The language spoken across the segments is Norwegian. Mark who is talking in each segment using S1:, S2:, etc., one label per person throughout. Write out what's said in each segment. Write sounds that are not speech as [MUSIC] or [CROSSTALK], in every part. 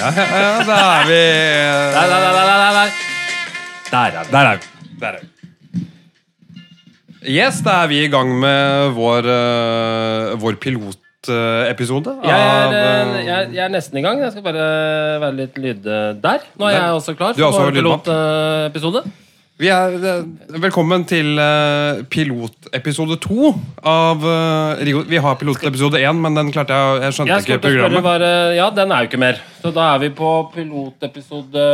S1: ja, da er vi eh,
S2: Nei, nei, nei, nei, nei, nei. Der er vi.
S1: Der er vi. Der er vi. Yes, da er vi i gang med vår, eh, vår pilotepisode.
S2: Jeg
S1: av,
S2: er, eh,
S1: eh,
S2: jeg, jeg er nesten i gang. Jeg skal bare være litt lyd eh, der. Nå er
S1: Der.
S2: jeg også klar
S1: Du er
S2: for
S1: også
S2: vår
S1: lydmann.
S2: pilotepisode.
S1: Vi er eh, Velkommen til eh, pilotepisode to av eh, Rigo. Vi har pilotepisode én, men den klarte jeg Jeg skjønte
S2: Jeg
S1: ikke
S2: skulle til å spørre
S1: programmet.
S2: bare, Ja, den er jo ikke mer. Så da er vi på pilotepisode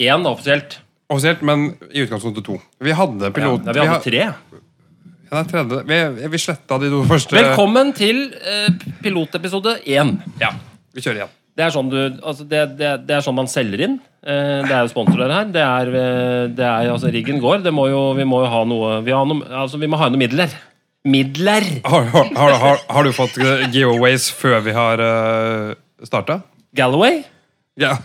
S2: én offisielt.
S1: Offisielt, men i utgangspunktet to. Vi Eh. hadde pilot...
S2: Ja, vi hadde tre.
S1: Ja, det er tredje. Vi, vi sletta de to første.
S2: Velkommen til eh, pilotepisode én.
S1: Ja, vi kjører igjen.
S2: Det er sånn, du, altså det, det, det er sånn man selger inn. Eh, Det er jo sponsorer her. Det er, eh, det er jo- altså Riggen går. Det må jo, vi må jo ha noe Vi, har noe, altså vi må ha noen midler. Midler!
S1: Har, har, har, har, har du fått eh, giveaways før vi har uh, starta?
S2: Galloway?
S1: Ja.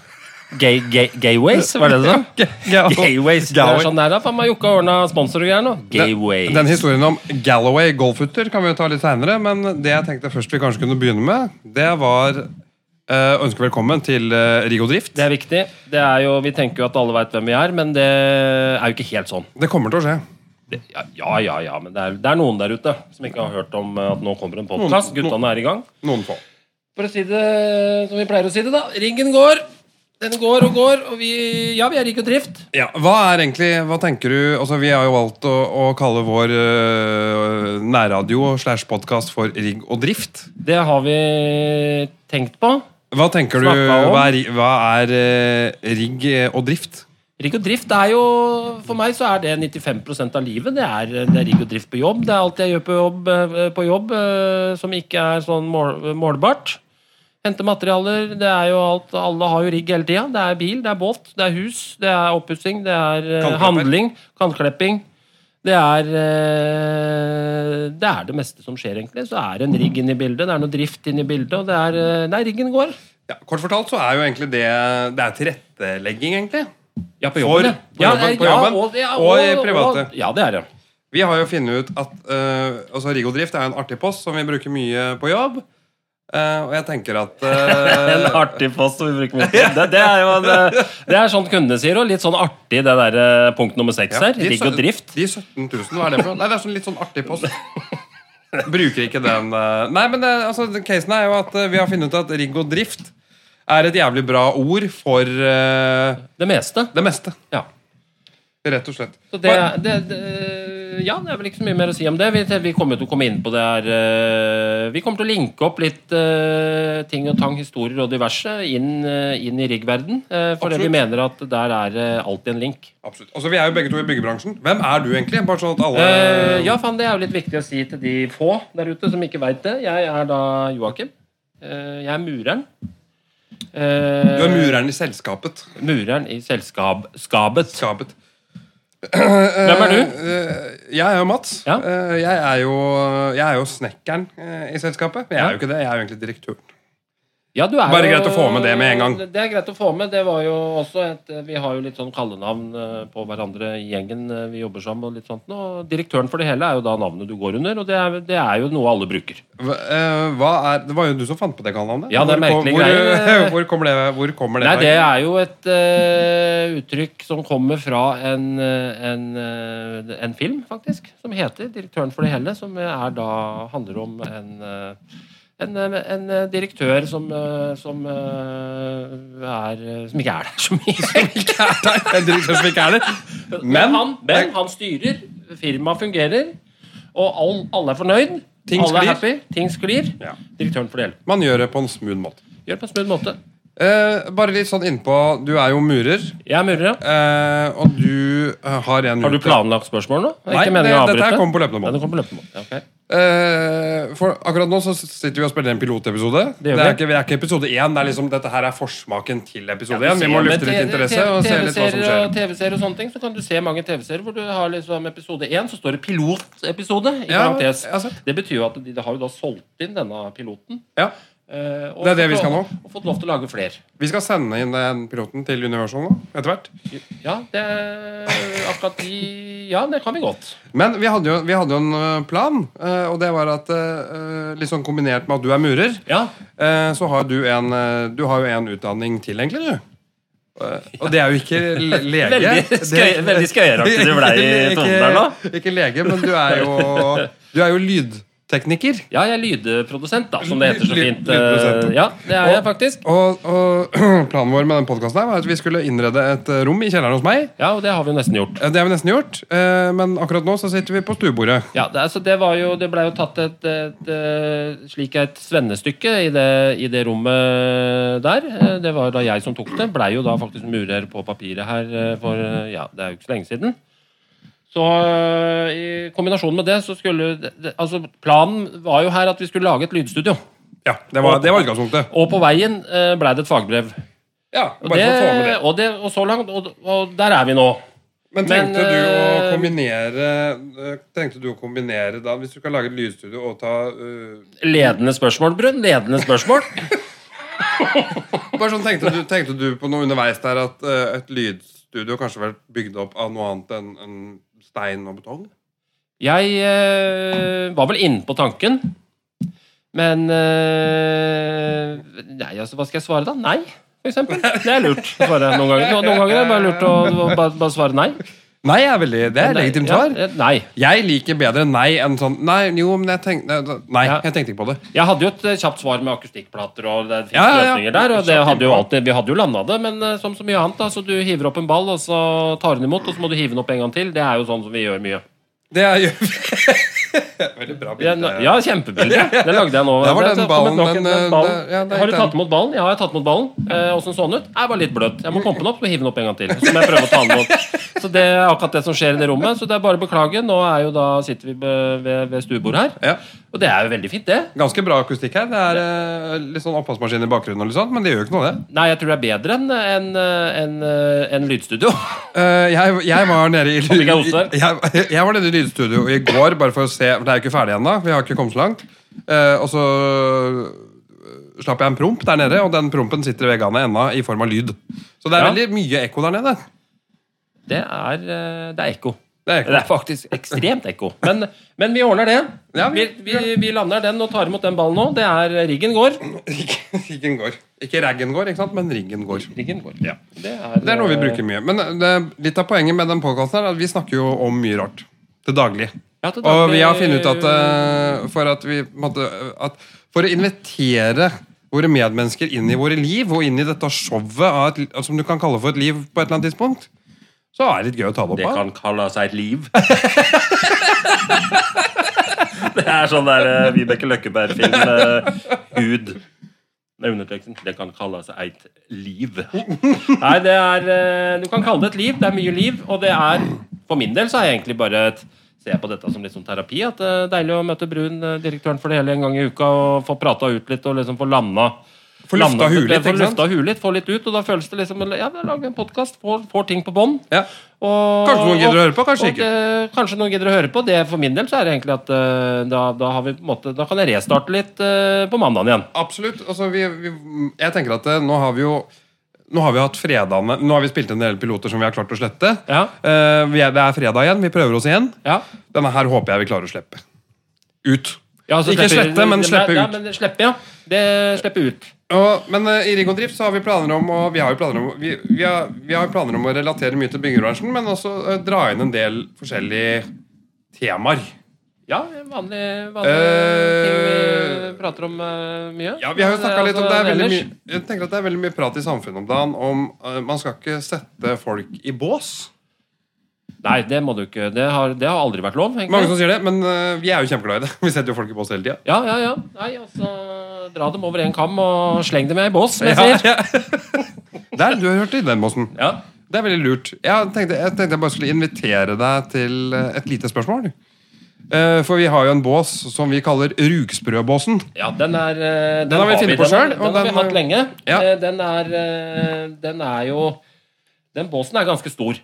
S2: Gay, gay, gayways, var det det du sa?
S1: Gal-
S2: Gayways. Det
S1: Galloway.
S2: er sånn der, da. Faen meg Jokke har ordna sponsor og greier nå. Gayways.
S1: Den, den historien om Galloway golfhytter kan vi jo ta litt seinere, men det jeg tenkte først vi kanskje kunne begynne med, det var eh, å ønske velkommen til eh, Rigo Drift.
S2: Det er viktig. Det er jo, vi tenker jo at alle veit hvem vi er, men det er jo ikke helt sånn.
S1: Det kommer til å skje.
S2: Det, ja, ja, ja, ja, men det er, det er noen der ute som ikke har hørt om eh, at nå kommer en podkast. Guttene er i gang.
S1: Noen få.
S2: For å si det som vi pleier å si det, da. Ringen går. Den går og går, og vi Ja, vi er Rigg og Drift.
S1: Ja, hva er egentlig, hva tenker du altså Vi har jo valgt å, å kalle vår eh, nærradio slash podkast for Rigg og drift.
S2: Det har vi tenkt på.
S1: Hva tenker du,
S2: Snakka om.
S1: hva er, ri- hva er eh, rigg og drift?
S2: Rigg og drift det er jo For meg så er det 95 av livet. Det er, det er rigg og drift på jobb. Det er alt jeg gjør på jobb, eh, på jobb eh, som ikke er sånn mål, målbart. Hente materialer. Det er jo alt Alle har jo rigg hele tida. Det er bil, det er båt, det er hus, det er oppussing, det er eh,
S1: Kantklepper.
S2: handling, kantklipping. Det er eh, Det er det meste som skjer, egentlig. Så er det en rigg inne i bildet. Det er noe drift inne i bildet, og det er eh, Nei, riggen går.
S1: Ja, kort fortalt så er jo egentlig det Det er tilrettelegging, egentlig.
S2: Ja, på
S1: For-
S2: jobben.
S1: på jobben, på jobben, og i private.
S2: Ja, det er det.
S1: Vi har jo funnet ut at eh, altså Riggo Drift er jo en artig post som vi bruker mye på jobb. Eh, og jeg tenker at eh,
S2: [LAUGHS] En artig post som vi bruker
S1: [LAUGHS]
S2: mye tid. Det, det, er jo en, eh, det er sånn kundene sier, og litt sånn artig det der eh, punkt nummer seks
S1: ja, sånn-
S2: her.
S1: de
S2: Rigg og
S1: sø-
S2: drift.
S1: De 17 000, hva er det for noe? Nei, det er sånn litt sånn artig post. Bruker ikke den eh, Nei, men det, altså, casen er jo at eh, vi har funnet ut at rigg og drift er et jævlig bra ord for eh,
S2: Det meste.
S1: det meste.
S2: Ja.
S1: Rett og slett.
S2: Så det, det, det, ja, det er vel ikke så mye mer å si om det. Vi, vi kommer til å komme inn på det her eh, Vi kommer til å linke opp litt eh, ting og tang, historier og diverse inn, eh, inn i riggverden. eh, for det vi
S1: Absolutt.
S2: mener at der er eh, alltid en link.
S1: Absolutt. Altså, Vi er jo begge to i byggebransjen. Hvem er du egentlig? Bare sånn at alle
S2: Eh, ja, faen, det er jo litt viktig å si til de få der ute som ikke veit det. Jeg er da Joakim. Eh, jeg er mureren. Eh,
S1: Du er mureren i selskapet.
S2: Mureren i selskab... Skabet.
S1: Skapet.
S2: Hvem er du?
S1: Eh, Jeg er jo Mats.
S2: Ja.
S1: Eh, Jeg, er jo, jeg er jo snekkeren eh, i selskapet. Men jeg
S2: Ja.
S1: er jo ikke det. Jeg er jo egentlig direktøren.
S2: Ja, du er
S1: Bare
S2: jo-
S1: greit å få med det med en gang.
S2: Det er greit å få med. Det var jo også et Vi har jo litt sånn kallenavn eh, på hverandre i gjengen eh, vi jobber sammen og litt sånt nå. Og Direktøren for det hele er jo da navnet du går under, og det er, det er jo noe alle bruker.
S1: Hva, eh, hva er, det var jo du som fant på det kallenavnet.
S2: Ja, det er
S1: Hvor-
S2: merkelige
S1: hvor, eh,
S2: greier.
S1: Hvor kommer det, hvor kommer det
S2: Nei,
S1: fra?
S2: det er jo et eh, uttrykk som kommer fra en, eh, en, eh, en film, faktisk, som heter 'Direktøren for det hele', som er da handler om en eh, en, eh, en eh, direktør som, eh, som eh, er eh, Som ikke er der så mye.
S1: [LAUGHS] Ikke er [LAUGHS] det. En direktør som ikke er det.
S2: Men
S1: Men,
S2: han, men han styrer, firmaet fungerer, og all, alle er fornøyd.
S1: Ting
S2: alle
S1: sklir.
S2: er happy, ting sklir.
S1: Ja.
S2: Direktøren for det hele.
S1: man gjør det på en smooth måte.
S2: Gjør det på en smooth måte.
S1: Eh, bare litt sånn innpå Du er jo murer,
S2: Jeg er murer, ja.
S1: eh, og du eh, har en
S2: Har du
S1: ute.
S2: planlagt spørsmål nå? Det er
S1: Nei,
S2: ikke
S1: det-
S2: meningen å
S1: dette her
S2: avbryte.
S1: kommer på løpende bånd.
S2: Ja, det kommer på løpende bånd. Ja, ok.
S1: Eh, for akkurat nå så sitter vi og spiller en pilotepisode. Det,
S2: Det gjør
S1: er
S2: vi.
S1: ikke, vi er ikke episode én. Det er liksom, dette her er forsmaken til episode én. vi må
S2: Men
S1: lufte litt
S2: TV-
S1: interesse og se litt hva som
S2: TV-serier og
S1: skjer.
S2: TV-serier og sånne ting, så kan du se mange TV-serier hvor du har liksom episode 1, så står det pilotepisode i
S1: Ja,
S2: parentes.
S1: jeg har sett.
S2: Det betyr jo at de, de har jo da solgt inn denne piloten.
S1: Ja.
S2: eh, og
S1: Det er det
S2: fått
S1: vi skal
S2: lov-
S1: nå.
S2: Og fått lov til å lage flere.
S1: Vi skal sende inn den piloten til Universal nå, etter hvert.
S2: Ja, det er akkurat de Ja, det kan vi godt.
S1: Men vi hadde jo, vi hadde jo en øh, plan, øh, og det var at øh, litt sånn kombinert med at du er murer,
S2: Ja.
S1: eh, så har du en øh, Du har jo en utdanning til, egentlig, du. Eh, Og det er jo ikke le-
S3: [LAUGHS]
S1: lege.
S3: Veldig skøy-
S1: Det-
S3: veldig skøyeraktig du ble i
S1: Ikke-
S3: tonen der nå.
S1: Ikke lege, men du er jo, du er jo lydtekniker.
S2: Ja, jeg er lydprodusent, da, som det heter så
S1: Lyd-
S2: fint. Eh,
S1: lydprodusent.
S2: Ja, det er jeg faktisk.
S1: Og, og [CLEARS THROAT] planen vår med den podkasten var at vi skulle innrede et eh, rom i kjelleren hos meg.
S2: Ja, og det har vi jo nesten gjort.
S1: Eh, Det har vi nesten gjort, eh, men akkurat nå så sitter vi på stuebordet.
S2: Ja, det, altså, det, var jo, det ble jo tatt et, et, eh, slik et svennestykke i det, i det rommet der. Eh, Det var da jeg som tok det. Blei jo da faktisk murer på papiret her eh, for eh, ja, det er jo ikke så lenge siden. Så eh, i kombinasjon med det så skulle det- det- Altså, planen var jo her at vi skulle lage et lydstudio.
S1: Ja, Det var, det var utgangspunktet.
S2: Og på veien eh, blei det et fagbrev.
S1: Ja,
S2: Og,
S1: bare for å få med det.
S2: det, og, det, og så langt, og, og der er vi nå.
S1: Men
S2: Men,
S1: tenkte du å
S2: eh,
S1: kombinere eh, Tenkte du å kombinere da, hvis du skal lage et lydstudio og ta eh,
S2: Ledende spørsmål, Brun. Ledende spørsmål.
S1: Bare sånn, tenkte du, tenkte du på noe underveis der at eh, et lydstudio kanskje vært bygd opp av noe annet enn enn stein og betong?
S2: Jeg eh, var vel inne på tanken, men eh, Nei, altså, hva skal jeg svare, da? Nei, for
S1: [LAUGHS]
S2: eksempel. Det er lurt å svare noen ganger. Noen ganger er det bare lurt å å bare, bare svare nei.
S1: Nei, jeg er veldig, det er
S2: Nei,
S1: legitimt
S2: ja,
S1: svar.
S2: eh, Nei.
S1: Jeg liker bedre nei enn sånn Nei, jo, men jeg tenkte Nei,
S2: Ja.
S1: jeg tenkte ikke på det.
S2: Jeg hadde jo et eh, kjapt svar med akustikkplater og det finnes
S1: Ja, ja, ja.
S2: løsninger der. og det
S1: Kjapt
S2: hadde jo
S1: innpå.
S2: alltid, Vi hadde jo landa det, men eh, som så mye annet, da, så du hiver opp en ball, og så tar den imot, og så må du hive den opp en gang til. Det er jo sånn som vi gjør mye.
S1: Det er jo [LAUGHS] Veldig bra
S2: Ja,
S1: bilde.
S2: ja
S1: [LAUGHS]
S2: kjempebilde. Det lagde jeg nå.
S1: Det var den
S2: har kommet
S1: ballen,
S2: nok
S1: men,
S2: en- den
S1: eh,
S2: ballen.
S1: det- ja, det er
S2: Har du
S1: ikke
S2: tatt imot ballen? Ja, jeg har tatt imot ballen. Eh, Åssen så den ut? Jeg var litt bløt. Jeg må pumpe den opp og hive den opp en gang til. Så må jeg prøve å ta den imot. Så det er akkurat det som skjer i det rommet. Så det er bare å beklage. Nå er jo da, sitter vi be- ved, ved stuebordet her.
S1: Ja.
S2: Og det er jo veldig fint, det.
S1: Ganske bra akustikk her. Det er eh, litt sånn oppvaskmaskin i bakgrunnen, og litt sånt, men det gjør jo ikke noe, det.
S2: Nei, jeg tror det er bedre enn enn, eh, enn, eh, enn lydstudio.
S1: Eh, jeg, jeg var nede i
S2: Om ikke jeg hoster.
S1: [LAUGHS] jeg, jeg var nede i lydstudio i går, bare for å se For det er jo ikke ferdig ennå. Vi har ikke kommet så langt. Eh, og så eh, slapp jeg en promp der nede, og den prompen sitter i veggene ennå i form av lyd. Så det er
S2: Ja.
S1: veldig mye ekko der nede.
S2: Det er, eh, det er ekko.
S1: Det er
S2: Det
S1: ekko.
S2: er
S1: [LAUGHS]
S2: faktisk ekstremt ekko. Men, men vi ordner det.
S1: Ja,
S2: vi,
S1: vi-
S2: vi, vi lander den og tar imot den ballen nå. Det er riggen går.
S1: Ikke- Riggen går. Ikke raggen går, ikke sant, men riggen går.
S2: Riggen går. Det, er,
S1: Det er noe vi bruker mye. Men det, litt av poenget med den podkasten er at vi snakker jo om mye rart til daglig.
S2: eh, Ja, til
S1: Og vi
S2: daglig-
S1: har funnet ut at eh, for at vi på en måte, at For å invitere våre medmennesker inn i våre liv, og inn i dette showet av et, li- som du kan kalle for et liv på et eller annet tidspunkt, så er det litt gøy å ta det opp
S3: Det
S1: av.
S3: kan kalle seg et
S2: [LAUGHS]
S3: liv. det er sånn der eh, Vibeke Løkkeberg-film. eh, hud. Med underteksten. Det kan kalle seg et liv.
S2: Nei, det er eh, Du kan kalle det et liv. Det er mye liv, og det er For min del så er jeg egentlig bare et Ser jeg på dette som litt sånn terapi. At det er deilig å møte Brun, eh, direktøren for det hele, en gang i uka, og få prata ut litt og liksom få landa.
S1: Få lufta
S2: landa-
S1: huet litt,
S2: få
S1: ikke sant?
S2: lufta huet litt, få litt ut, og da føles det liksom Ja, vi har laget en podkast, får, får ting på bånd.
S1: Ja.
S2: Og,
S1: Kanskje noen gidder å høre på, kanskje
S2: og,
S1: ikke.
S2: eh, kanskje noen gidder å høre på. Det For min del så er det egentlig at eh, da, da, har vi, på en måte, da kan jeg restarte litt eh, på mandagen igjen.
S1: Absolutt. Altså, vi, vi, jeg tenker at eh, nå har vi jo nå har vi hatt fredagene Nå har vi spilt en del piloter som vi har klart å slette.
S2: Ja.
S1: Eh, vi er, det er fredag igjen. Vi prøver oss igjen.
S2: Ja.
S1: Denne her håper jeg vi klarer å slippe ut.
S2: Ja, så
S1: Ikke
S2: slipper-
S1: slette, men slippe
S2: Ja,
S1: ut.
S2: men slippe, ja. Det slipper ut.
S1: Og, men eh, i Rigg og Drift så har vi planer om å, vi har jo planer om, vi, vi har, vi har planer om å relatere mye til byggebransjen, men også eh, dra inn en del forskjellige temaer.
S2: Ja, vanlig, vanlig ting vi
S1: Eh,
S2: prater om eh, mye. altså,
S1: Ja, vi har jo snakket litt om det er veldig
S2: ellers-
S1: mye, Jeg tenker at det er veldig mye prat i samfunnet om dagen om eh, man skal ikke sette folk i bås.
S2: Nei, det må du ikke. Det har, det har aldri vært lov. egentlig.
S1: Mange som sier det, men eh, vi er jo kjempeglad i det. [LAUGHS] Vi setter jo folk i bås hele tida.
S2: Ja, ja, ja. Nei, altså, dra dem over en kam og sleng dem i ei bås. som jeg
S1: Ja, [LAUGHS]
S2: sier.
S1: Der, du har hørt det i den båsen.
S2: Ja.
S1: Det er veldig lurt. Jeg tenkte jeg, tenkte jeg bare skulle invitere deg til eh, et lite spørsmål. Eh, For vi har jo en bås som vi kaller Rugsprøbåsen.
S2: ja, den er eh, Den,
S1: har vi funnet på
S2: den,
S1: selv,
S2: Den,
S1: og
S2: har vi
S1: den-
S2: hatt lenge.
S1: Ja.
S2: Eh, Den er eh, Den er jo Den båsen er ganske stor.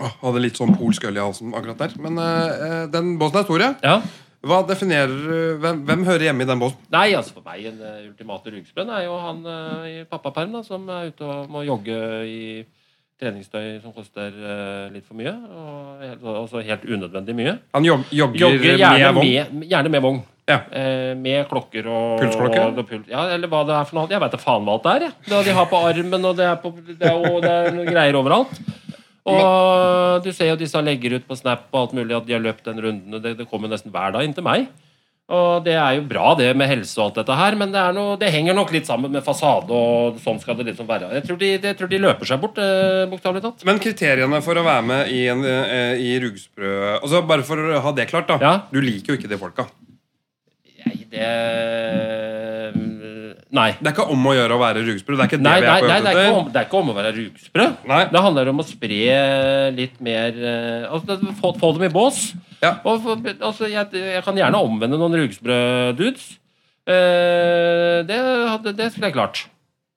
S1: Åh, hadde litt sånn polsk øl i halsen akkurat der. Men eh, eh, den båsen er stor, ja.
S2: Ja.
S1: Hva definerer eh, hvem, hvem hører hjemme i den båsen?
S2: Nei, altså for meg en eh, ultimate rugsprønn er jo han eh, i pappaperm da, som er ute og må jogge i treningstøy som koster eh, litt for mye, og helt, også helt unødvendig mye.
S1: Han jog, jogger,
S2: Jogger gjerne
S1: med vogn.
S2: med, gjerne med vogn.
S1: Ja.
S2: Eh, med klokker og
S1: Pulsklokker?
S2: og pul ja, eller hva det er for noe. Jeg veit da faen hva alt det er. Jeg. Det de har på armen, og det er, på, det er, og det er noen greier overalt. Og du ser jo disse legger ut på Snap og alt mulig at de har løpt den runden. og Det, det kommer nesten hver dag inn til meg. Og det er jo bra, det med helse og alt dette her, men det, er noe, det henger nok litt sammen med fasade, og sånn skal det liksom være. Jeg tror de, jeg tror de løper seg bort, eh, bokstavelig talt.
S1: Men kriteriene for å være med i, en, eh, i rugsprø altså Bare for å ha det klart, da.
S2: Ja.
S1: Du liker jo ikke de folka.
S2: Nei, det mm, Nei.
S1: Det er ikke om å gjøre å være rugsprø. Det er ikke det
S2: Nei,
S1: vi er
S2: nei,
S1: på
S2: nei det,
S1: jakt
S2: er ikke
S1: etter.
S2: om, det er ikke om å være rugsprø.
S1: Nei.
S2: Det handler om å spre litt mer eh, altså, det- få, få dem i bås.
S1: Ja.
S2: Og, få- altså, jeg, jeg kan gjerne omvende noen rugsprø-dudes. Eh, det, hadde- det skulle jeg klart.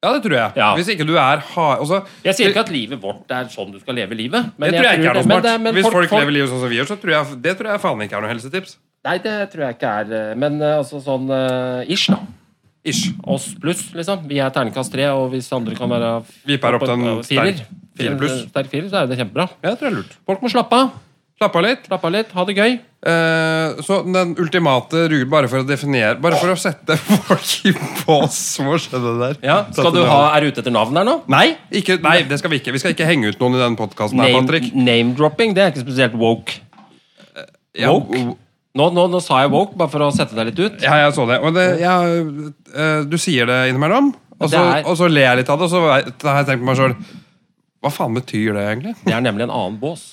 S1: Ja, det tror jeg.
S2: Ja.
S1: Hvis ikke du er hard altså,
S2: Jeg sier ikke at livet vårt er sånn du skal leve livet.
S1: Det
S2: Men
S1: tror jeg ikke er noe
S2: men
S1: smart.
S2: det- men
S1: Hvis folk, lever livet sånn som vi gjør, så tror jeg det tror jeg faen ikke er noe helsetips.
S2: Nei, det tror jeg ikke er eh, Men eh, altså sånn eh, ish, da.
S1: Ish.
S2: Oss pluss, liksom. Vi er terningkast tre, og hvis andre kan være
S1: Viper opp til en
S2: firer,
S1: sterk fire pluss.
S2: Eh, Sterk firer, så er det kjempebra.
S1: Ja, det tror jeg er lurt.
S2: Folk må slappe av.
S1: Slapp av litt.
S2: Slappe av litt, ha det gøy.
S1: Eh, så den ultimate rug... Bare for å definere Bare for å sette [LAUGHS] folk i bås. Hva skjedde der?
S2: Skal
S1: Satte
S2: du
S1: det
S2: ha,
S1: av.
S2: er du ute etter navn her nå?
S1: Nei, ikke, nei, det skal vi ikke. Vi skal ikke henge ut noen i den podkasten her, Patrick.
S2: Name-dropping, det er ikke spesielt woke.
S1: Ja,
S2: woke?
S1: o-
S2: Nå, nå, nå sa jeg woke, bare for å sette deg litt ut.
S1: Ja, jeg så det. Og det ja, eh, du sier det innimellom, og så,
S2: Det er-
S1: og så ler jeg litt av det, og så har jeg tenkt på meg sjøl Hva faen betyr det egentlig?
S2: Det er nemlig en annen bås.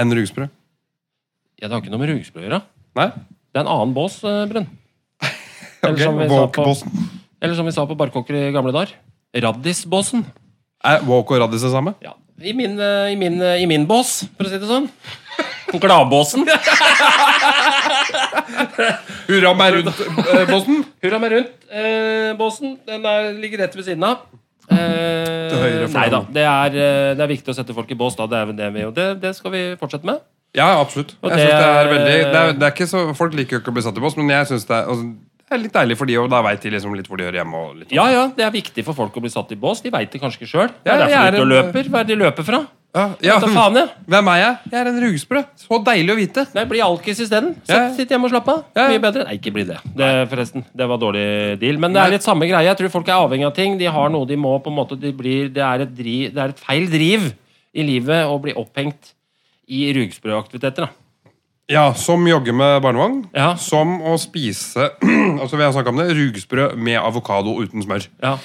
S1: En rugsprø?
S2: Ja, det har ikke noe med rugsprø å gjøre.
S1: Nei?
S2: Det er en annen bås, eh, Brunn.
S1: [LAUGHS]
S2: Eller,
S1: Ok,
S2: som vi sa på-
S1: Woke-bossen.
S2: eller som vi sa på Barkåker i gamle dager. Raddisbåsen.
S1: Er woke og raddis det samme?
S2: Ja. I min, eh, i, min, eh, I min bås, for å si det sånn.
S1: [LAUGHS]
S2: Gladbåsen.
S1: Hurra meg
S2: [LAUGHS]
S1: eh, rundt-bossen?
S2: Hurra meg rundt. Eh, båsen den er, ligger rett ved siden av. Eh,
S1: Til høyre for
S2: nei da,
S1: den.
S2: det er, eh, det er viktig å sette folk i bås. Da. Det, er vel det, vi, og det, det skal vi fortsette med.
S1: ja, absolutt.
S2: Og
S1: Jeg synes det er
S2: det-
S1: veldig det er, det er ikke så, Folk liker jo ikke å bli satt i bås, men jeg syns det, er- altså, det er litt deilig for de, og da veit de liksom litt hvor de hører hjemme. Og litt
S2: Ja, ja, Det er viktig for folk å bli satt i bås. De veit det kanskje ikke sjøl. Det
S1: Ja,
S2: er
S1: jeg
S2: derfor
S1: er
S2: de ikke
S1: en-
S2: løper. Hva er det de løper fra?
S1: Ja, ja.
S2: Vet da faen, jeg.
S1: Hvem er jeg? Jeg er en rugsprø. Så deilig å vite.
S2: Nei, Bli alkis isteden. Sitt,
S1: Ja.
S2: sitt hjemme og slapp av.
S1: Ja.
S2: Mye bedre. Nei, ikke bli det. det. Forresten, det var dårlig deal. Men det er litt samme greie. Jeg tror folk er avhengig av ting. De har noe de må på en måte de blir, det, er et driv, det er et feil driv i livet å bli opphengt i rugsprøaktiviteter. da.
S1: Ja, Som jogge med barnevogn.
S2: Ja.
S1: Som å spise [CLEARS THROAT] altså vi har snakket om det, rugsprø med avokado uten smør.
S2: Ja.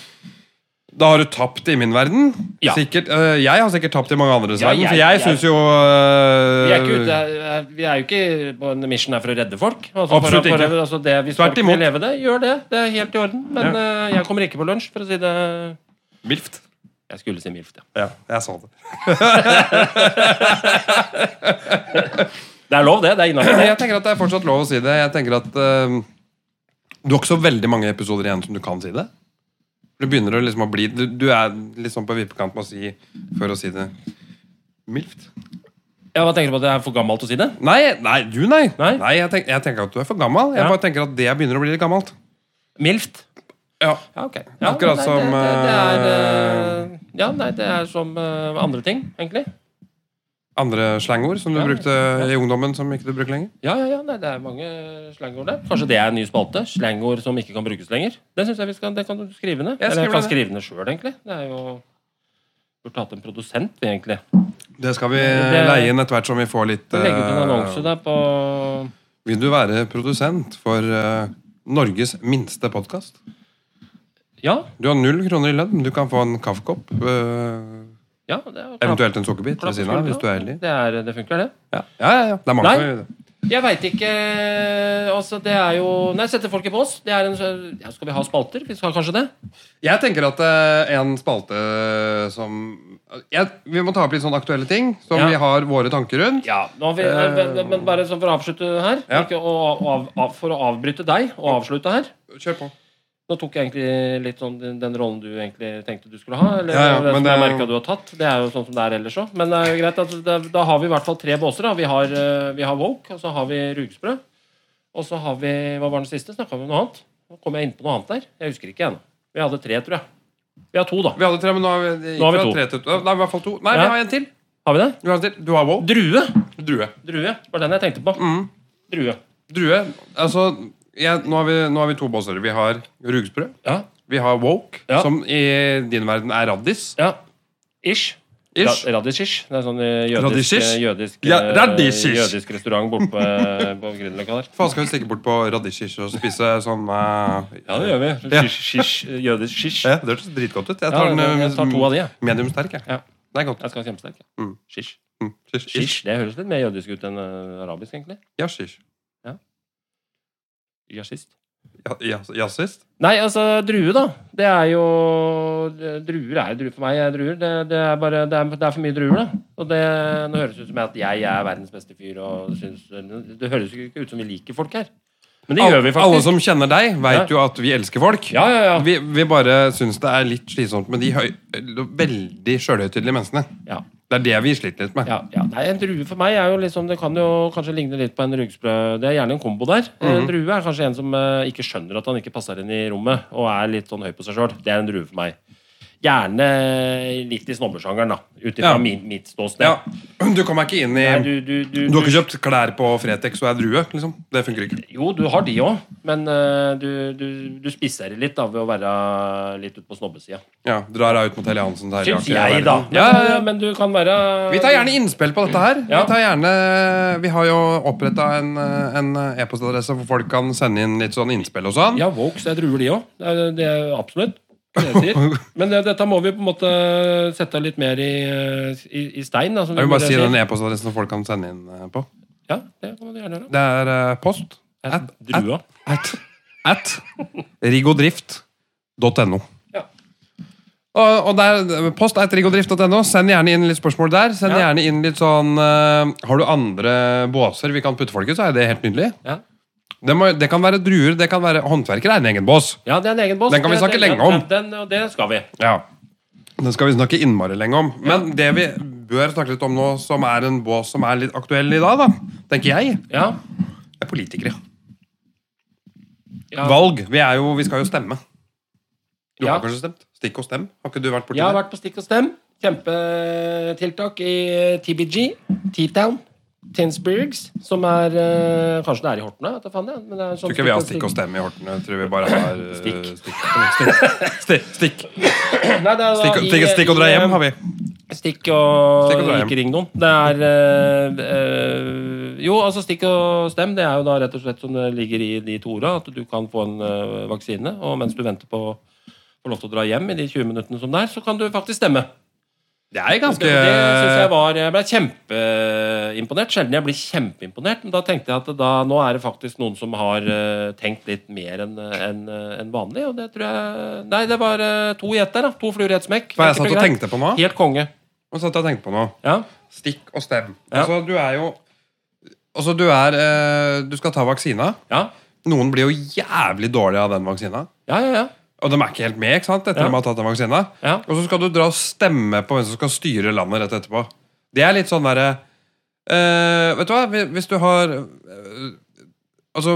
S1: Da har du tapt i min verden.
S2: Ja.
S1: Sikkert, øh, jeg har sikkert tapt i mange andres
S2: Ja,
S1: verden, for
S2: jeg-
S1: jeg,
S2: jeg-
S1: synes syns jo eh, øh,
S2: Vi, er ikke ute, eh, vi er jo ikke på en mission her for å redde folk. Altså,
S1: Absolutt
S2: for, for,
S1: ikke.
S2: Altså, det, hvis
S1: Tvert
S2: folk
S1: imot.
S2: vil leve det, gjør det. Det er helt i orden. Men eh, jeg kommer ikke på lunsj, for å si det
S1: Milft.
S2: Jeg skulle si mildt, ja.
S1: Ja, jeg sa det.
S2: Det er lov, det. Det er innafor.
S1: Jeg tenker at det er fortsatt lov å si det. Jeg tenker at øh, Du har ikke så veldig mange episoder igjen som du kan si det. Du begynner å liksom å bli Du, du er liksom på vippekant med å si for å si det mildt.
S2: Ja, hva tenker du på at jeg er for gammel til å si det?
S1: Nei, nei, du nei.
S2: Nei?
S1: jeg, tenk, jeg tenker at du er for gammel. Jeg
S2: Ja.
S1: bare tenker at det begynner å bli litt gammelt.
S2: Mildt.
S1: Ja.
S2: Ja, ok.
S1: Akkurat
S2: nei,
S1: som,
S2: det, det, det er, eh, Ja, nei, det er som eh, andre ting, egentlig.
S1: Andre slangord som du
S2: Ja,
S1: brukte i ungdommen som ikke du bruker lenger.
S2: Ja, ja, ja, nei, det er mange slangord der. Kanskje det er en ny spalte? Slangord som ikke kan brukes lenger. Det synes jeg vi skal, det kan du skrive ned.
S1: Jeg
S2: Eller
S1: skriver
S2: jeg kan
S1: det.
S2: skrive ned sjøl, egentlig. Det er jo Burde hatt en produsent, vi, egentlig.
S1: Det skal vi
S2: Det-
S1: leie inn etter hvert som vi får litt
S2: Legge ut en
S1: eh,
S2: annonse der på
S1: Vil du være produsent for eh, Norges minste podkast?
S2: Ja,
S1: Du har null kroner i lønn. Du kan få en kaffekopp. eh,
S2: ja. Det er jo klapp-
S1: eventuelt en sukkerbit ved
S2: klapp på
S1: siden av,
S2: skuldra.
S1: hvis du er heldig.
S2: Det, er, det funker, det.
S1: Ja, ja, ja, ja. Det er mange
S2: Nei.
S1: som gjør det.
S2: Jeg veit ikke Altså, det er jo Nei, sette folk i bås. Det er en ja, Skal vi ha spalter? Vi skal kanskje det?
S1: Jeg tenker at eh, en spalte eh, som jeg, Vi må ta opp litt sånne aktuelle ting som
S2: Ja.
S1: vi har våre tanker rundt.
S2: Ja, nå vil,
S1: Eh.
S2: men bare sånn for å avslutte her
S1: Ja.
S2: ikke å, av, av, For å avbryte deg og avslutte her
S1: Kjør på.
S2: Nå tok jeg egentlig litt sånn den, den rollen du egentlig tenkte du skulle ha Eller
S1: Ja, ja,
S2: den
S1: men
S2: som jeg
S1: det-
S2: merket du har tatt Det er jo sånn som det er ellers også Men det er jo greit at det, da har vi i hvert fall tre båser da. vi har, eh, vi har Woke, og så har vi Rugsprø Og så har vi, hva var den siste? Snakket vi om noe annet? Nå kom jeg inn på noe annet der Jeg husker ikke ennå Vi hadde tre, tror jeg Vi har to, da.
S1: Vi hadde tre, men nå har vi,
S2: Nå har vi
S1: fra
S2: to.
S1: tre til Nei, i hvert fall to. Nei,
S2: Ja.
S1: vi har en til.
S2: Har vi det?
S1: Vi har en til. Du har Wow.
S2: Drue.
S1: Drue.
S2: Drue var den jeg tenkte på. Drue.
S1: Drue. Altså, jeg, nå, har vi, nå har vi to båser. Vi har rugsprø.
S2: Ja.
S1: Vi har Woke,
S2: Ja.
S1: som i din verden er raddis.
S2: ja. Ish.
S1: Ish.
S2: Ra- Radish-ish. Det er sånn eh, jødisk,
S1: Radish-ish?
S2: eh, jødisk,
S1: Ja,
S2: eh,
S1: radish-ish.
S2: jødisk restaurant borte på, eh, på Grünerløkka der.
S1: Faen, skal vi stikke bort på radisjer og spise sånn eh,
S2: Ja, det gjør vi.
S1: [LAUGHS] Ja.
S2: Shish, shish, eh, jødisk shish.
S1: Ja, det hørtes dritgodt ut. Jeg tar,
S2: Ja,
S1: den, eh,
S2: jeg tar to av de, jeg.
S1: medium sterk. Jeg.
S2: Ja.
S1: Det er godt.
S2: Jeg skal ha kjempesterk. ja.
S1: Mm.
S2: Shish.
S1: Mm. Shish.
S2: Shish. Det høres litt mer jødisk ut enn eh, arabisk, egentlig.
S1: Ja, shish.
S2: Jazzist.
S1: Ja, ja, jazzist?
S2: Nei, altså, drue, da. Det er jo Druer er jo druer for meg. Jeg er druer. Det, det, er bare, det, er, det er for mye druer, da. Og det, nå høres det ut som at jeg er verdens beste fyr og syns Det høres jo ikke ut som vi liker folk her. Men det
S1: Al-
S2: gjør vi
S1: Alle
S2: faktisk.
S1: som kjenner deg, veit
S2: Ja.
S1: jo at vi elsker folk.
S2: Ja, ja, ja.
S1: Vi, vi bare syns det er litt slitsomt med de høy, veldig sjølhøytidelige menneskene.
S2: Ja.
S1: Det er det vi sliter litt med.
S2: Ja, ja. Nei, en drue for meg er jo liksom Det kan jo kanskje ligne litt på en rugsprø. Det er gjerne en kombo der.
S1: Mhm.
S2: En drue er kanskje en som eh, ikke skjønner at han ikke passer inn i rommet, og er litt sånn høy på seg sjøl. Det er en drue for meg. Gjerne litt i snobbesjangeren, da. Ut ifra
S1: Ja.
S2: min- mitt ståsted.
S1: Ja. Du kommer ikke inn i
S2: Nei,
S1: du,
S2: du, du, du,
S1: har ikke kjøpt klær på Fretex og er drue? liksom Det funker ikke.
S2: Jo, du har de òg, men eh, du, du, du spisser det litt da ved å være litt ute på snobbesida.
S1: Ja, Drar deg ut mot Helle Hansen. der,
S2: Syns
S1: ja,
S2: jeg,
S1: verden.
S2: da. Men,
S1: Ja, ja, ja.
S2: men du kan være
S1: Vi tar gjerne innspill på dette her. Vi,
S2: Ja.
S1: tar gjerne, vi har jo oppretta en, en e-postadresse hvor folk kan sende inn litt sånn innspill og sånn.
S2: Ja, Vokes er druer, de òg. Det er, det er absolutt. Det jeg
S1: [LAUGHS]
S2: sier. Men det, dette må vi på en måte sette litt mer i, i, i stein. Da, som
S1: Jeg vil bare
S2: det
S1: si
S2: sier.
S1: den e-postadressen folk kan sende inn eh, på.
S2: Ja, det kan du gjerne gjøre.
S1: Det er eh, post at, at,
S2: Drua.
S1: at, at rigodrift.no.
S2: Ja.
S1: Og, og der, post at rigodrift.no. Send gjerne inn litt spørsmål der. Send
S2: Ja.
S1: gjerne inn litt sånn eh, Har du andre båser vi kan putte folk i, så er det helt nydelig.
S2: Ja.
S1: Det, må, det kan være druer, det kan være håndverkere er en egen bås.
S2: ja, det er en egen boss.
S1: Den kan vi
S2: Det-
S1: snakke
S2: det-
S1: lenge om.
S2: Den, og det skal vi.
S1: Ja. Den skal vi snakke innmari lenge om. Men det vi bør snakke litt om nå, som er en bås som er litt aktuell i dag, da, tenker jeg,
S2: Ja.
S1: er politikere.
S2: ja.
S1: Valg. Vi, er jo, vi skal jo stemme. Du
S2: Ja.
S1: har kanskje stemt? Stikk og stem. Har ikke du vært borti
S2: Jeg har
S1: det?
S2: vært på Stikk og Stem. Kjempetiltak i eh, TBG. T-Town. Tinsburgs. Som er eh, Kanskje det sånn er i Horten òg? Jeg
S1: Jeg tror ikke vi har stikk og stem i Horten. Jeg tror vi bare har eh,
S2: Stikk.
S1: Stikk, stikk, stikk, stikk,
S2: Nei, det er da
S1: stikk,
S2: i- eh,
S1: stikk, stikk og dra
S2: i,
S1: hjem har vi.
S2: Stikk og,
S1: Stikk og dra hjem.
S2: ikke ring noen. Det er eh, eh, Jo, altså stikk og stem, det er jo da rett og slett som det ligger i de to orda, at du kan få en eh, vaksine, og mens du venter på å få lov til å dra hjem i de 20 minuttene som det er, så kan du faktisk stemme.
S1: Det er
S2: Det,
S1: ganske
S2: det synes jeg var Jeg ble kjempeimponert. Sjelden jeg blir kjempeimponert, men da tenkte jeg at da, nå er det faktisk noen som har eh, tenkt litt mer enn enn- enn vanlig, og det tror jeg Nei, det var eh, to i ett der, da. To fluer i ett smekk.
S1: Hva jeg satt
S2: Enkelt
S1: og
S2: greit.
S1: tenkte på nå?
S2: Helt konge.
S1: Hva satt jeg og tenkte på nå?
S2: Ja.
S1: Stikk og stem.
S2: Ja.
S1: Altså, du er jo Altså, du er eh, Du skal ta vaksina.
S2: Ja.
S1: Noen blir jo jævlig dårlige av den vaksina.
S2: Ja, ja, ja.
S1: Og de er ikke helt med ikke sant, etter
S2: Ja.
S1: de har tatt den vaksina.
S2: Ja.
S1: Og så skal du dra og stemme på hvem som skal styre landet rett etterpå. Det er litt sånn derre eh, Vet du hva, Hvis- hvis du har eh, Altså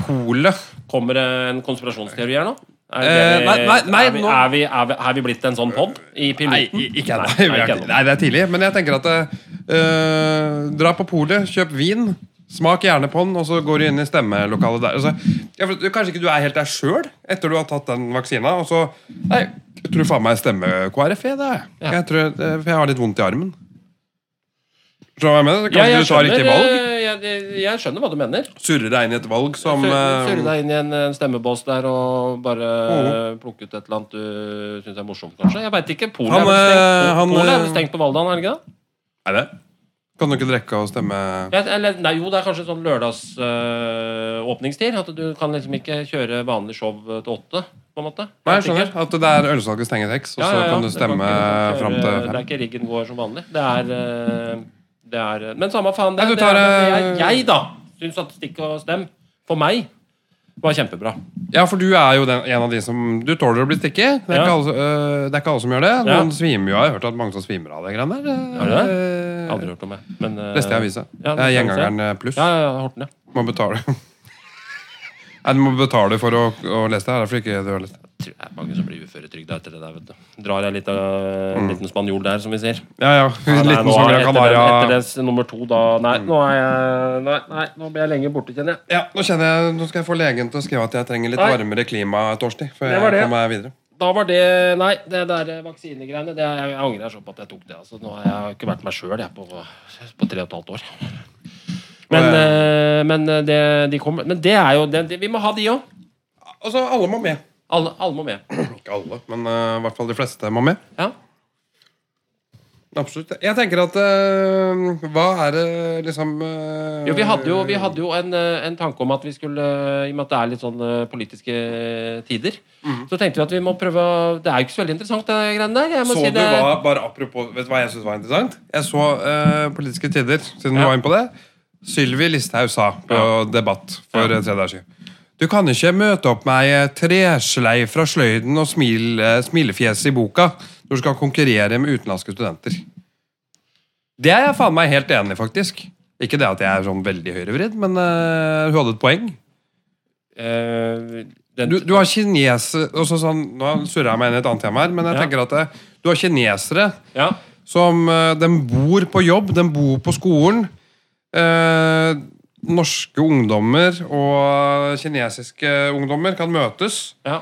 S1: Polet
S2: Kommer det en konspirasjonsteori her nå? Er,
S1: Eh,
S2: vi-
S1: nei, nei, nei,
S2: er, vi,
S1: nå-
S2: er, vi, er, vi, er vi blitt en sånn pod
S1: Nei,
S2: i piloten?
S1: i- ikke [LAUGHS]
S2: Nei, nei, ikke
S1: ennå.
S2: ennå.
S1: Nei, det er tidlig. Men jeg tenker at eh, Dra på polet, kjøp vin, smak gjerne på den, og så går du inn i stemmelokalet der. Altså, ja, for, du, kanskje ikke du er helt der sjøl etter du har tatt den vaksina, og så Nei, jeg tror faen meg jeg stemmer KrF, jeg, det.
S2: Ja.
S1: Jeg tror, eh, for jeg har litt vondt i armen. Skjønner du hva jeg mener?
S2: Ja,
S1: Kanskje
S2: jeg,
S1: du tar
S2: skjønner,
S1: riktig valg?
S2: eh, jeg, jeg skjønner hva du mener.
S1: Surrer deg inn i et valg som
S2: Surre surre
S1: eh,
S2: deg inn i en eh, stemmebås der og bare eh,
S1: Mhm.
S2: plukke ut et eller annet du syns er morsomt, kanskje. Jeg veit ikke. Polet
S1: Han,
S2: er vel
S1: eh,
S2: stengt,
S1: han,
S2: Polet er vel
S1: eh,
S2: stengt på Valdaen, er det ikke det?
S1: Er det? Kan du ikke drikke og stemme
S2: Ja, eller, nei, jo, det er kanskje sånn lørdagsåpningstid. at du kan liksom ikke kjøre vanlig show til åtte, på en måte.
S1: Nei, jeg
S2: Jeg vet
S1: skjønner.
S2: ikke.
S1: At det er ølsalget stenger seks, og
S2: Ja,
S1: så
S2: ja, ja.
S1: kan du
S2: Det
S1: stemme
S2: ikke
S1: fram
S2: kjøre-
S1: til
S2: Det er
S1: fem.
S2: ikke riggen går som vanlig. Det er, eh, det er eh, Men samme faen, det,
S1: Nei, du
S2: det er-
S1: tar,
S2: det er-
S1: eh,
S2: jeg, da, syns at stikk og stem for meg var kjempebra.
S1: Ja, for du er jo den, en av de som Du tåler å bli stikket. Det er,
S2: Ja.
S1: ikke, alle, som- øh, det er ikke alle som gjør det.
S2: Ja.
S1: Noen svimer jo av. Jeg har hørt at mange som svimer av det greiene der.
S2: Har du det?
S1: Eh,
S2: Aldri hørt om det. Men, eh,
S1: Leste i avisa. det er
S2: ja, leste i avisa.
S1: Gjengangeren eh, pluss.
S2: Ja, ja, ja, Horten, ja.
S1: [LAUGHS] Man betaler. Nei, du må betale for å, å lese det. her, Derfor ikke du har lest det.
S2: tror det er mange som blir uføretrygda etter det der, vet du. Drar jeg litt av en
S1: Mm.
S2: liten spanjol der, som vi ser.
S1: Ja, ja.
S2: Ja, nei,
S1: Liten sånn
S2: nå er-
S1: Sogn
S2: etter, den, etter
S1: Canaria.
S2: dens nummer to, da Nei,
S1: Mm.
S2: nå er jeg Nei, nei nå blir jeg lenge borte, kjenner jeg.
S1: Ja, nå kjenner jeg, nå skal jeg få legen til å skrive at jeg trenger litt
S2: Nei.
S1: varmere klima et års tid. Før
S2: Det
S1: jeg
S2: var det.
S1: kommer meg videre.
S2: Da var det Nei, det der vaksinegreiene det, Jeg jeg angrer så på at jeg tok det. Altså, nå har jeg ikke vært meg sjøl på, på tre og et halvt år. Men,
S1: Og,
S2: eh, men, eh, det, de kommer, men det er jo det, det, Vi må ha de òg.
S1: Altså, alle må med.
S2: Alle, alle må med.
S1: Ikke alle, men eh, i hvert fall de fleste må med.
S2: Ja.
S1: Absolutt. Jeg tenker at eh, Hva er det liksom eh,
S2: Jo, vi hadde jo, vi hadde jo en, eh, en tanke om at vi skulle I og med at det er litt sånn eh, politiske tider,
S1: Mhm.
S2: så tenkte vi at vi må prøve å- Det er jo ikke så veldig interessant, det greiene der. Jeg må
S1: Så
S2: si
S1: du
S2: det,
S1: hva, bare apropos, Vet du hva jeg syns var interessant? Jeg så eh, Politiske tider, siden
S2: Ja.
S1: du var inne på det. Sylvi Listhaug sa på
S2: Ja.
S1: Debatt for
S2: Ja.
S1: eh, tre dager siden Du kan ikke møte opp med ei treslei fra sløyden og smil, eh, smilefjes i boka når du skal konkurrere med utenlandske studenter. Det er jeg faen meg helt enig i, faktisk. Ikke det at jeg er sånn veldig høyrevridd, men eh, hun hadde et poeng.
S2: Eh, den,
S1: Du, du har kinese... og så sånn, nå surrer jeg meg inn i et annet tema her, men jeg
S2: Ja.
S1: tenker at eh, du har kinesere
S2: ja.
S1: som eh, Den bor på jobb, den bor på skolen. Eh, norske ungdommer og kinesiske ungdommer kan møtes.
S2: Ja.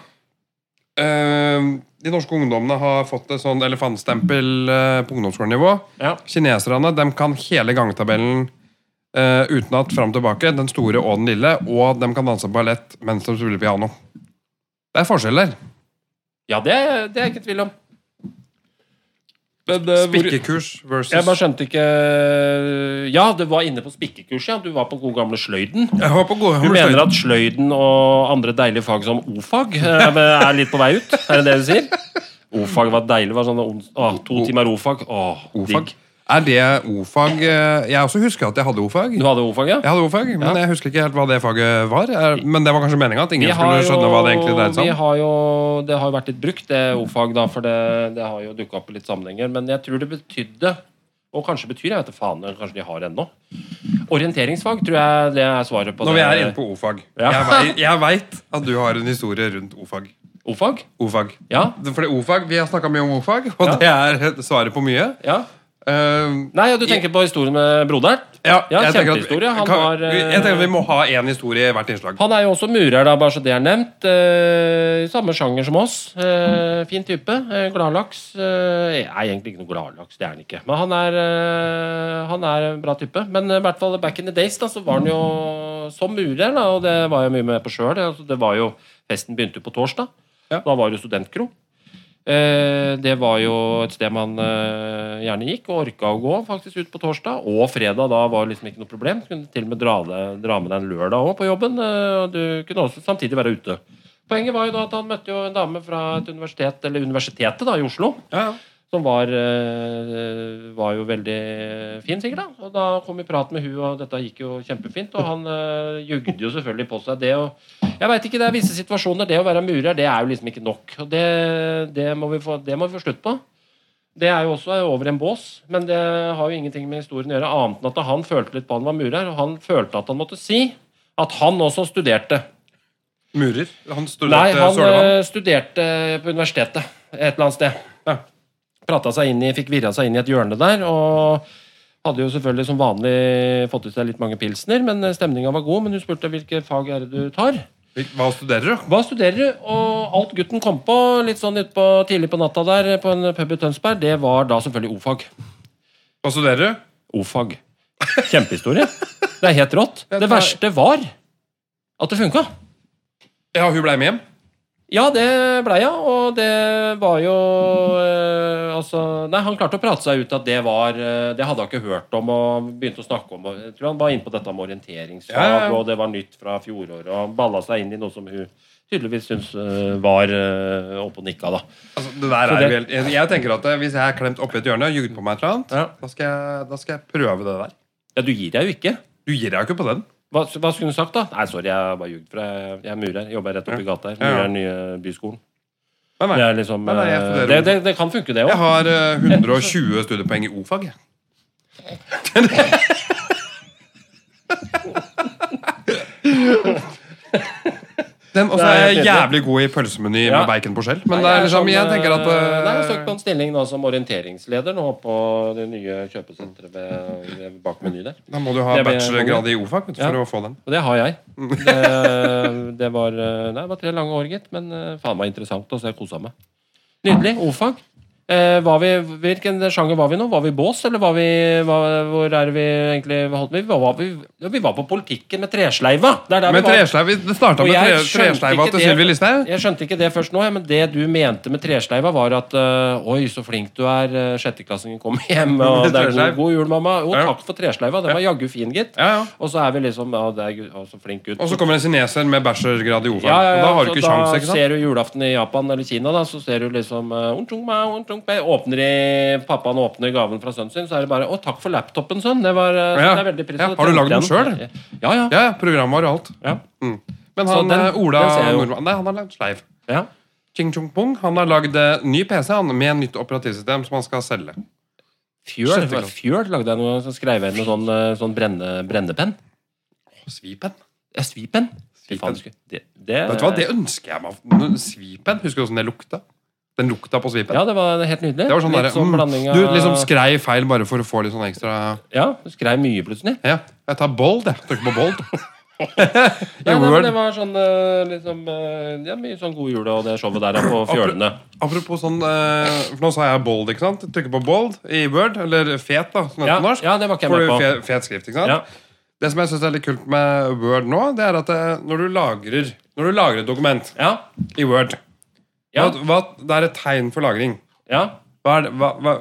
S1: Eh, de norske ungdommene har fått et sånn elefantstempel eh, på ungdomsskolenivå.
S2: ja.
S1: Kineserne de kan hele gangtabellen eh, utenat, fram og tilbake. Den store og den lille. Og de kan danse ballett mens de spiller piano. Det er forskjeller.
S2: Ja, det, det er jeg ikke i tvil om. Men, eh, hvor,
S1: Spikkekurs versus
S2: jeg bare skjønte ikke eh, Ja, du var inne på spikkekurs, ja. Du var på god gamle sløyden.
S1: Jeg var på gode-
S2: Du mener at sløyden og andre deilige fag som o-fag eh, er litt på vei ut? Er det det du sier? O-fag var deilig. var sånn, ons- å, To timer o-fag. Åh,
S1: O-fag.
S2: digg.
S1: Er det o-fag eh, Jeg også husker at jeg hadde o-fag.
S2: Du hadde o-fag, ja?
S1: Jeg hadde o-fag, Men jeg husker ikke helt hva det faget var. Er- Men det var kanskje meninga at ingen skulle skjønne hva det egentlig dreide
S2: vi
S1: seg om.
S2: har jo, det har jo vært litt brukt, det o-fag, da, for det, det har jo dukka opp i litt sammenhenger. Men jeg tror det betydde, og kanskje betyr, jeg vet da faen, eller kanskje de har det ennå Orienteringsfag tror jeg det er svaret på
S1: Når vi
S2: det.
S1: er inne på o-fag
S2: Ja.
S1: Jeg vei- Jeg veit at du har en historie rundt o-fag.
S2: O-fag?
S1: O-fag.
S2: Ja.
S1: Fordi o-fag, Vi har snakka mye om o-fag, og
S2: Ja.
S1: det er svaret på mye.
S2: ja.
S1: Eh,
S2: Nei, ja, du tenker på historien med broderen?
S1: ja,
S2: Ja,
S1: jeg tenker at-
S2: kjempehistorie. Han
S1: kan-
S2: var, eh,
S1: Jeg tenker at Vi må ha én historie i hvert innslag.
S2: Han er jo også murer, da, bare så det er nevnt. Eh, samme sjanger som oss. Eh, fin type. Eh, gladlaks. Eh, er egentlig ikke noe gladlaks, det er han ikke. Men han er, eh, han er en bra type. Men eh, i hvert fall back in the days da, så var han jo som murer, da, og det var jeg mye med på sjøl. Altså, det var jo- festen begynte jo på torsdag.
S1: Ja.
S2: Da var det jo studentkro. Eh, det var jo et sted man eh, gjerne gikk, og orka å gå faktisk ut på torsdag. Og fredag da var det liksom ikke noe problem. Du kunne til og med dra, det, dra med deg en lørdag òg på jobben. eh, og du kunne også samtidig være ute. Poenget var jo da at han møtte jo en dame fra et universitet, eller universitetet da, i Oslo.
S1: Ja, ja.
S2: Som var, eh, var jo veldig fin, sikkert. da Og da kom vi i prat med hun, og dette gikk jo kjempefint. Og han eh, jugde jo selvfølgelig på seg det. Og jeg veit ikke, det er visse situasjoner. Det å være murer, det er jo liksom ikke nok. Og det, det, må, vi få, det må vi få slutt på. Det er jo også over en bås, men det har jo ingenting med historien å gjøre, annet enn at han følte litt på han var murer, og han følte at han måtte si at han også studerte.
S1: Murer. Han
S2: Nei,
S1: studerte
S2: han
S1: Sørlandet.
S2: eh, studerte på universitetet et eller annet sted. Ja. Prata seg inn i, fikk virra seg inn i et hjørne der, og hadde jo selvfølgelig som vanlig fått i seg litt mange pilsner, men stemninga var god. Men hun spurte hvilke fag er det du tar.
S1: Hva studerer du?
S2: Hva studerer du? Og alt gutten kom på litt sånn ut på, tidlig på natta der eh, på en pub i Tønsberg, det var da selvfølgelig o-fag.
S1: Hva studerer du?
S2: O-fag. Kjempehistorie. Det er helt rått. Det verste var at det funka.
S1: Ja, hun blei med hjem.
S2: Ja, det blei jeg, og det var jo eh, Altså, nei, han klarte å prate seg ut at det var eh, Det hadde han ikke hørt om, og begynte å snakke om og Jeg tror han var inne på dette med orienteringsfag,
S1: Ja, ja, ja.
S2: og det var nytt fra fjoråret, og han balla seg inn i noe som hun tydeligvis syntes eh, var eh, oppe og nikka, da.
S1: Altså, det der
S2: Så
S1: er jo
S2: det-
S1: helt, jeg, jeg tenker at eh, Hvis jeg er klemt oppi et hjørne og jugd på meg et eller annet,
S2: Ja.
S1: da, skal jeg, da skal jeg prøve det der.
S2: Ja, du gir deg jo ikke.
S1: Du gir deg jo ikke på den.
S2: Hva, hva skulle hun sagt, da? Nei, sorry, jeg bare ljugde, for jeg, jeg er murer. Jobber rett oppi gata her.
S1: Ja, ja.
S2: Murer nye byskolen.
S1: Nei,
S2: Det
S1: nei.
S2: er liksom
S1: Nei, nei, jeg
S2: eh,
S1: studerer
S2: det,
S1: ord.
S2: det, det kan funke, det
S1: Jeg
S2: òg.
S1: har eh, 120 studiepoeng i o-fag. jeg. [LAUGHS] Den, og så
S3: Det er
S1: er jeg
S3: helt
S1: jævlig god i pølsemeny
S2: Ja.
S1: med bacon på skjell. Men
S2: Nei,
S1: det
S2: jeg
S1: er
S2: er
S1: liksom,
S2: sånn,
S1: jeg tenker at
S2: eh, Nei, jeg har søkt
S1: eh,
S2: på en stilling nå som orienteringsleder nå på det nye kjøpesenteret ved, ved bak meny der.
S1: Da må du ha
S2: Det blir-
S1: bachelorgrad i OFAC vet du,
S2: Ja.
S1: for å få den.
S2: Og det har jeg. Det, det var eh, Nei, det var tre lange år, gitt. Men eh, faen meg interessant, og så jeg kosa meg. Nydelig. O-fag. Eh, var vi, hvilken sjanger var vi nå? Var vi bås, eller var vi var, Hvor er det vi egentlig holdt med? Vi var, vi, ja, vi var på politikken med tresleiva! Det er der
S1: Med
S2: vi var.
S1: tresleiv, vi- Det starta
S2: Og
S1: med
S2: jeg
S1: tre-
S2: skjønte
S1: tresleiva
S2: ikke
S1: til
S2: det-
S1: Sylvi Listhaug.
S2: Jeg skjønte ikke det først nå, ja, men det du mente med tresleiva, var at øh, Oi, så flink du er, øh, sjetteklassingen kommer hjem,
S1: [LAUGHS]
S2: og det er god,
S1: Tresleiv.
S2: god jul, mamma. Jo,
S1: Ja.
S2: takk for tresleiva, den var jaggu fin, gitt.
S1: Ja, ja.
S2: Og så er vi liksom Ja, det er gu- å, så flink gutt.
S1: Og så kommer en kineser med bachelorgrad i OFAC
S2: ja, ja, ja,
S1: Og Da har du
S2: så
S1: ikke
S2: da
S1: sjans, ikke sant?
S2: ser du julaften i Japan eller Kina, da, så ser du liksom øh, «Un chung ma, un chung bei», Åpner i Pappaen åpner gaven fra sønnen sin, så er det bare Å, takk for laptopen, sønn. Det var øh,
S1: Ja.
S2: det er veldig pris.
S1: Ja, har du laget den selv?
S2: Ja, ja.
S1: Ja, ja, programvare og alt.
S2: ja.
S1: Mm. Men
S2: Så
S1: han
S2: den-
S1: eh, Ola
S2: den ser jeg jo.
S1: Nordmann Nei, han har lagd sleiv.
S2: ja.
S1: Ching Chong Pong. Han har lagd eh, ny PC han, med nytt operativsystem som han skal selge.
S2: Fjøl,
S1: Sjette klasse.
S2: Fjøl lagde jeg noe, så skrev jeg inn noe sånn, eh, sånn brenne, brennepenn.
S1: Svipen.
S2: Ja, svipenn.
S1: Svipenn.
S2: Fy faen, skulle- Det, det,
S1: Vet du hva, Det ønsker jeg meg. Svipen. Husker du åssen det lukta? Den lukta på svipen.
S2: Ja, det var helt nydelig.
S1: Det var sånn
S2: Litt
S1: derre
S2: sånn
S1: mm,
S2: blanding av
S1: Du liksom skrei feil bare for å få litt sånn ekstra
S2: Ja, du skrev mye plutselig.
S1: Ja, jeg tar bold, jeg. Trykker på bold.
S2: [LAUGHS]
S1: I
S2: Nei, nei, men
S1: Word.
S2: det var sånn eh, liksom eh, Ja, mye sånn God jul og det showet der da, på fjølene.
S1: Apropos sånn eh, For nå sa jeg bold, ikke sant? Trykker på bold i Word, eller fet, da, som det
S2: Ja,
S1: heter på norsk.
S2: ja, det var ikke jeg
S1: Får
S2: med
S1: du
S2: på.
S1: fe- fet skrift, ikke sant?
S2: Ja.
S1: Det som jeg synes er litt kult med Word nå, det er at eh, når du lagrer Når du lagrer et dokument
S2: Ja.
S1: i Word
S2: Ja.
S1: hva, hva, Det er et tegn for lagring.
S2: ja.
S1: Hva er det, hva, hva,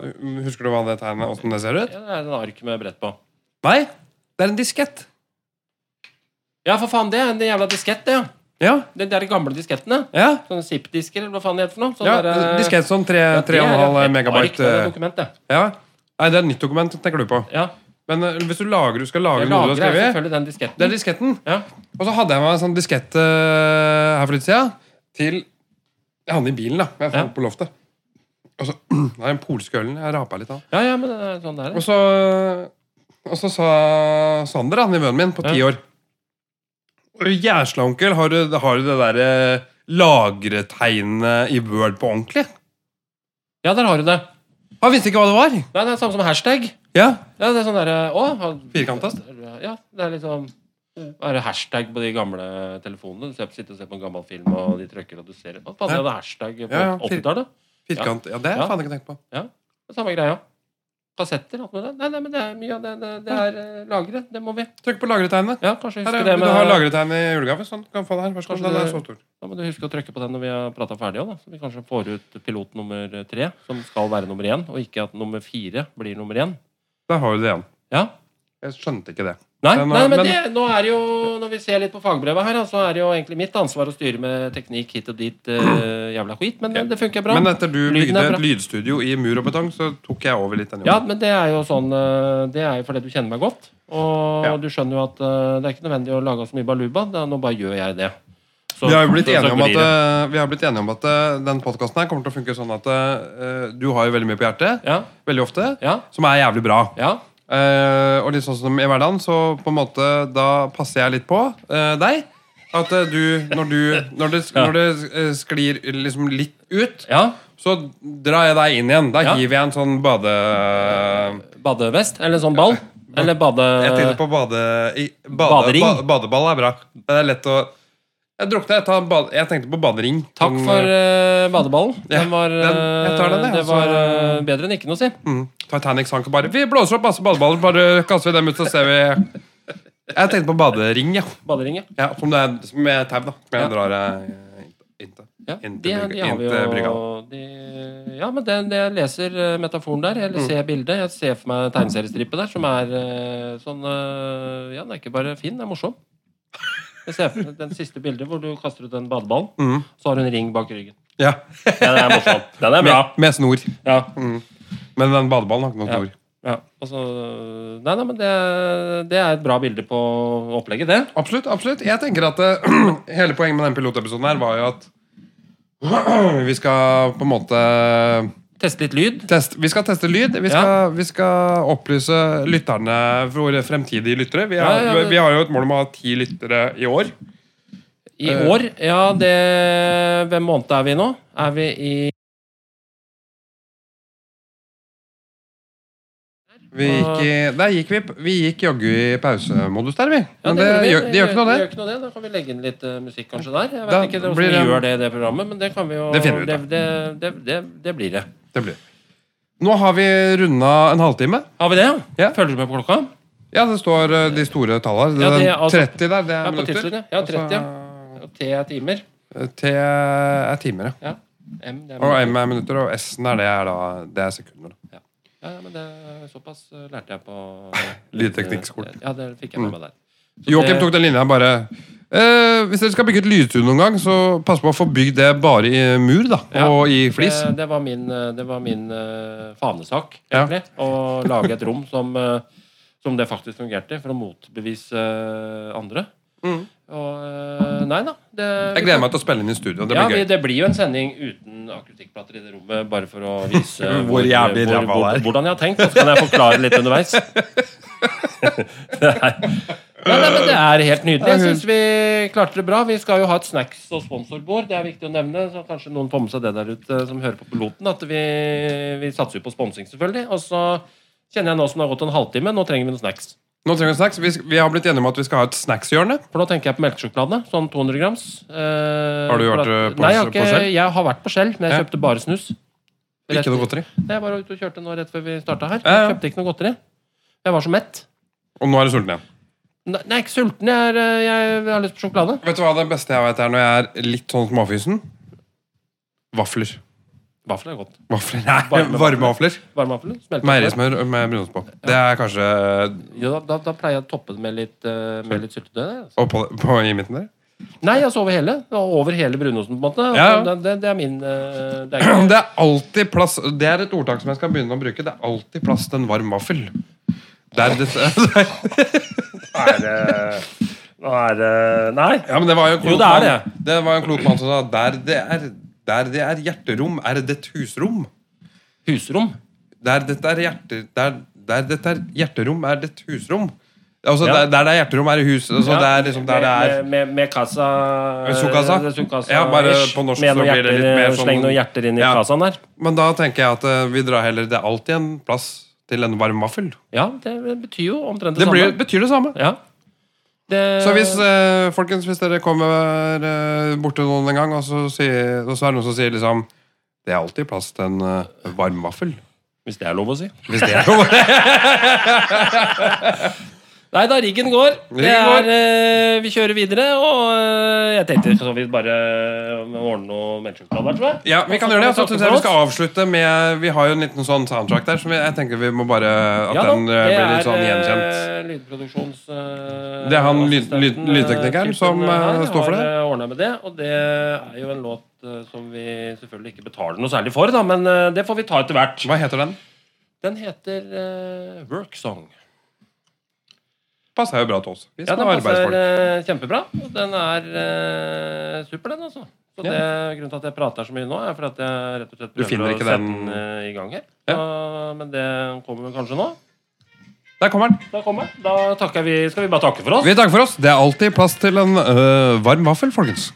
S1: husker du hva det tegnet Åssen det ser ut?
S2: ja det er en ark med brett på.
S1: Nei, det er en diskett.
S2: Ja, for faen, det er en jævla diskett, det. ja.
S1: Ja.
S2: Det er de gamle diskettene.
S1: ja.
S2: Sånne zip-disker, eller hva faen det heter for noe. Sånn
S1: ja
S2: der, eh,
S1: diskett som tre-
S2: ja, det er
S1: 3,5
S2: et Ark,
S1: megabyte.
S2: det er et
S1: eh,
S2: dokument, det.
S1: Ja. Nei, det er et nytt dokument, tenker du på.
S2: Ja.
S1: Men eh, hvis du lagrer, du skal lagre
S2: Jeg
S1: noe du har
S2: lagrer jeg
S1: skrevet
S2: selvfølgelig den disketten.
S1: Det er disketten.
S2: ja.
S1: Og så hadde jeg meg en sånn diskett eh, her for litt siden. Til Jeg hadde den i bilen, da. men Jeg fant
S2: Ja.
S1: på loftet. Og så [CLEARS THROAT] Det er den polske ølen. Jeg rapa litt av.
S2: ja, ja, men det er sånn det er.
S1: Og så, og så sa Sander, da, nevøen min, på ti år Jæsla, onkel, har du, har du det derre lagretegnet i Word på ordentlig?
S2: Ja, der har du det.
S1: Han visste ikke hva det var.
S2: Nei, det er samme som hashtag.
S1: Ja,
S2: Ja, det er sånn derre Å! han-
S1: Firkantast?
S2: Ja, det er liksom Bare hashtag på de gamle telefonene. Du ser- sitter og ser på en gammel film, og de trykker, og du ser Hva faen, de hadde hashtag på
S1: Ja, ja, fir-
S2: 80-tallet?
S1: Firkant. Ja, det har jeg
S2: Ja.
S1: faen ikke tenkt på.
S2: Det er Samme greia. Kassetter? alt med det. Nei, nei, men det er mye av det. Det, det er eh, lagret. Det må vi.
S1: Trykk på lagretegnet.
S2: Ja, kanskje
S1: Her
S2: huske
S1: er,
S2: det
S1: du har
S2: med
S1: lagretegnet i julegave. Sånn, du kan få det her. Vær så god.
S2: Kanskje
S1: Den er
S2: det-
S1: så stor.
S2: Da må du huske å trykke på den når vi har prata ferdig òg, da. Så vi kanskje får ut pilot nummer tre, som skal være nummer én, og ikke at nummer fire blir nummer én.
S1: Der har du det igjen.
S2: Ja.
S1: Jeg skjønte ikke det.
S2: Nei,
S1: Men,
S2: nei, men,
S1: men-
S2: det, nå er det jo, når vi ser litt på fagbrevet her, da, så er det jo egentlig mitt ansvar å styre med teknikk hit og dit. eh,
S1: [CLEARS THROAT]
S2: jævla skit, men det funker bra.
S1: Men etter du
S2: Lyden
S1: bygde
S2: er bra.
S1: et lydstudio i mur og betong, så tok jeg over litt den
S2: ja,
S1: jobben.
S2: men det er jo sånn eh, Det er jo fordi du kjenner meg godt. Og
S1: Ja.
S2: du skjønner jo at eh, det er ikke nødvendig å lage så mye baluba. Da, nå bare gjør jeg det. Så-
S1: Vi har jo blitt
S2: så- så
S1: enige om at,
S2: glir det.
S1: eh, vi har blitt enige om at eh, den podkasten her kommer til å funke sånn at eh, du har jo veldig mye på hjertet,
S2: Ja.
S1: veldig ofte,
S2: Ja.
S1: som er jævlig bra.
S2: ja.
S1: Eh, og litt sånn som i hverdagen, så på en måte da passer jeg litt på eh, deg. At eh, du, når du Når det, når det eh, sklir liksom litt ut,
S2: ja.
S1: så drar jeg deg inn igjen. Da
S2: Ja.
S1: hiver jeg en sånn bade...
S2: Badevest? Eller sånn ball? Eller bade...
S1: Jeg tenkte på bade... i- bade
S2: Eh, Badering.
S1: ba- badeball er bra. Det er lett å Jeg drukna, jeg, tar en bade, jeg tenkte på badering.
S2: Takk
S1: Sånn,
S2: for eh, badeballen.
S1: Ja,
S2: Den var, eh,
S1: den- jeg tar den, jeg,
S2: det
S1: altså.
S2: var eh, bedre enn ikke noe, si.
S1: mm, Titanic sank og bare Vi blåser opp masse badeballer, bare kaster vi dem ut, så ser vi Jeg tenkte på badering, ja.
S2: Badering, ja.
S1: ja som, det er, som er tau, da. Som jeg
S2: Ja.
S1: drar eh, inntil.
S2: Ja,
S1: Inntil
S2: de,
S1: brygga-
S2: de har vi
S1: inntil
S2: jo
S1: brygga.
S2: de, Ja, men det, det jeg leser eh, metaforen der, eller ser
S3: Mm.
S2: bildet Jeg ser for meg tegneseriestrippet der, som er eh, sånn eh, Ja, den er ikke bare fin, den er morsom. Jeg ser for meg den siste bildet hvor du kaster ut den badeballen,
S1: Mhm.
S2: så har du en ring bak ryggen.
S1: Ja.
S3: Ja, den er morsom. Mm. Den er bra. Mm.
S1: Med, med snor.
S2: Ja,
S1: Men den badeballen har ikke noe
S2: Ja.
S1: snor.
S2: ja. Og så, nei, nei, men det, det er et bra bilde på opplegget, det.
S1: Absolutt. absolutt. Jeg tenker at eh, [CLEARS THROAT] Hele poenget med den pilotepisoden her var jo at [CLEARS THROAT] vi skal på en måte
S2: Teste litt lyd.
S1: teste, Vi skal teste lyd. Vi skal, vi skal opplyse lytterne, våre fremtidige lyttere. Vi, er,
S2: Ja, ja, men-
S1: vi har jo et mål om å ha ti lyttere i år.
S2: I
S3: Eh.
S2: år? Ja, det Hvem måned er vi i nå? Er vi i
S1: Vi gikk, i, der gikk vi, vi gikk jaggu i pausemodus der, vi.
S2: Ja,
S1: Men det,
S2: gjør vi.
S1: gjør, det gjør ikke noe,
S2: Det
S1: det.
S2: gjør ikke noe det. Da kan vi legge inn litt eh, musikk kanskje der. Jeg vet
S1: Da
S2: ikke det,
S1: blir
S2: hvordan
S1: det-
S2: vi gjør det i det programmet, men det kan vi jo
S1: Det finner vi ut
S2: det,
S1: av.
S2: det, det, det, det blir det.
S1: det blir. Nå har vi runda en halvtime.
S2: Har vi det?
S1: Ja.
S2: Følger du med på klokka?
S1: Ja, det står eh, de store tallene her.
S2: Ja, det er altså-
S1: 30 der, det er
S2: Ja, på
S1: minutter.
S2: tidslinja. Ja, 30, ja. Og T er timer.
S1: Altså, T er timer, ja.
S2: Ja. M, det er
S1: Og
S2: minutter.
S1: M er minutter, og S-en er det er da Det er sekunder. da.
S2: Ja, ja, men det, såpass eh, lærte jeg på
S1: [LAUGHS] Lydteknikkskolen.
S2: Ja, det fikk jeg med meg der. Så
S1: Joakim
S2: det-
S1: tok den linja bare eh, Hvis dere skal bygge et lydstudio noen gang, så pass på å få bygd det bare i mur, da.
S2: Ja.
S1: Og i flis.
S2: Det, det var min, eh, det var min eh, fanesak,
S1: Ja.
S2: egentlig. Å lage et rom som, eh, som det faktisk fungerte, for å motbevise eh, andre.
S1: Mm.
S2: Og eh, nei da. Det,
S1: Jeg gleder meg til å spille inn i studio. Det
S2: ja,
S1: blir
S2: vi,
S1: gøy.
S2: det blir jo en sending uten akustikkplater i det rommet, bare for å
S1: [LAUGHS]
S2: vise
S1: Hvor jævlig
S2: hvor,
S1: ræva det er.
S2: hvordan jeg har tenkt. Og så kan jeg forklare litt
S1: [LAUGHS]
S2: underveis. [LAUGHS] Nei, nei, men Det er helt nydelig. Jeg syns vi klarte det bra. Vi skal jo ha et snacks- og sponsorbord. Det er viktig å nevne. så Kanskje noen får med seg det der ute som hører på piloten. At vi, vi satser jo på sponsing, selvfølgelig. Og så kjenner jeg nå som det har gått en halvtime, nå trenger vi noen snacks.
S1: Nå trenger vi snacks. Vi, sk- vi har blitt enige om at vi skal ha et snackshjørne.
S2: For nå tenker jeg på melkesjokolade. Sånn 200 grams. Eh,
S1: Har du
S2: for
S1: vært,
S2: at-
S1: eh, på-
S2: nei, jeg har
S1: på
S2: ikke,
S1: Shell?
S2: Jeg har vært på Shell, men jeg
S1: Ja.
S2: kjøpte bare snus. Rett-
S1: Ikke noe godteri.
S2: Jeg var ute og kjørte nå rett før vi starta her.
S1: Ja, ja.
S2: Kjøpte ikke noe godteri. Jeg var så mett.
S1: Og nå er du sulten igjen.
S2: Nei, jeg er ikke sulten. Jeg, er, eh, jeg har lyst på sjokolade.
S1: Vet du hva det beste jeg vet er når jeg er litt sånn småfysen? Vafler.
S2: Vafler er godt.
S1: Vafler, nei,
S2: Varme
S1: [LAUGHS] Varme vafler.
S2: Varmevaffel. smeltet.
S1: Meierismør med brunost på. Det er kanskje
S2: Ja, da, da, da pleier jeg å toppe det med litt, eh, med litt syltetøy. det, altså.
S1: og på, på, i midten der.
S2: Nei, altså over hele. Over hele brunosten, på en måte.
S1: Ja, ja.
S2: Det, det, det er min eh, det er ikke,
S1: [CLEARS THROAT] Det er alltid plass Det er et ordtak som jeg skal begynne å bruke. Det er alltid plass til en varm vaffel. Det er det, [LAUGHS]
S3: Er det- Nå er
S2: eh,
S3: det Nei.
S1: ja, men det var jo en klok
S2: Jo, det er
S1: mann- det var en klok mann som sa der det, er, der det er hjerterom, er det et husrom.
S2: husrom.
S1: Der dette er, hjerte, der, der dette er hjerterom, er det et husrom. Altså,
S3: Ja.
S1: der, der det er hjerterom, er det hus. Altså,
S2: Ja,
S1: det er liksom der det er
S2: Med, med, med kassa
S1: Med sokassa?
S2: eh, sokassa
S1: Ja, bare
S2: ish.
S1: på norsk
S2: med
S1: så
S2: noen
S1: blir det
S2: hjerter,
S1: litt mer
S2: eh,
S1: sånn-
S2: Sleng noen hjerter inn i
S1: Ja.
S2: kassaen der.
S1: Men da tenker jeg at eh, vi drar heller Det er alltid en plass til en varm vaffel.
S2: Ja, det betyr jo omtrent det,
S1: Det blir,
S2: samme.
S1: betyr det samme.
S2: Ja. Det-
S1: Så hvis eh, folkens, hvis dere kommer eh, bort til noen en gang, og så, sier, og så er det noen som sier liksom Det er alltid plass til en eh, varm vaffel.
S2: Hvis det er lov å si.
S1: Hvis det
S2: [LAUGHS]
S1: er noe.
S2: Nei da, riggen går. Det
S1: Riggen går.
S2: er, eh, vi kjører videre, og eh, jeg tenkte så vidt bare å ordne noe melkesjokolade, tror jeg.
S1: Ja, vi kan gjøre det. og Så synes jeg vi skal avslutte med Vi har jo en liten sånn soundtrack der, så vi- jeg tenker vi må bare at
S2: Ja da,
S1: den eh, blir litt sånn gjenkjent.
S2: eh, lydproduksjons... eh,
S1: Det er han lyd-
S2: assistenten,
S1: lyd- lydteknikeren
S2: eh,
S1: som,
S2: typen
S1: eh,
S2: her
S1: står for det.
S2: Har eh, ordnet med det, og det er jo en låt eh, som vi selvfølgelig ikke betaler noe særlig for, da, men eh, det får vi ta etter hvert.
S1: Hva heter den?
S2: Den heter eh, Work Song.
S1: Passer jo bra til oss. Vi
S2: Ja,
S1: skal
S2: den
S1: ha
S2: passer
S1: arbeidsfolk.
S2: eh, kjempebra. Og den er eh, super, den, altså. Så det, Grunnen til at jeg prater så mye nå, er for at jeg rett og slett
S1: Du finner
S2: prøver å
S1: ikke
S2: sette
S1: den-
S2: den eh, i gang her.
S1: Ja.
S2: Så, men det kommer vel kanskje nå.
S1: Der kommer den.
S2: Da kommer den. Da takker vi, skal vi bare takke for oss.
S1: Vi takker for oss. Det er alltid plass til en eh, varm vaffel, folkens.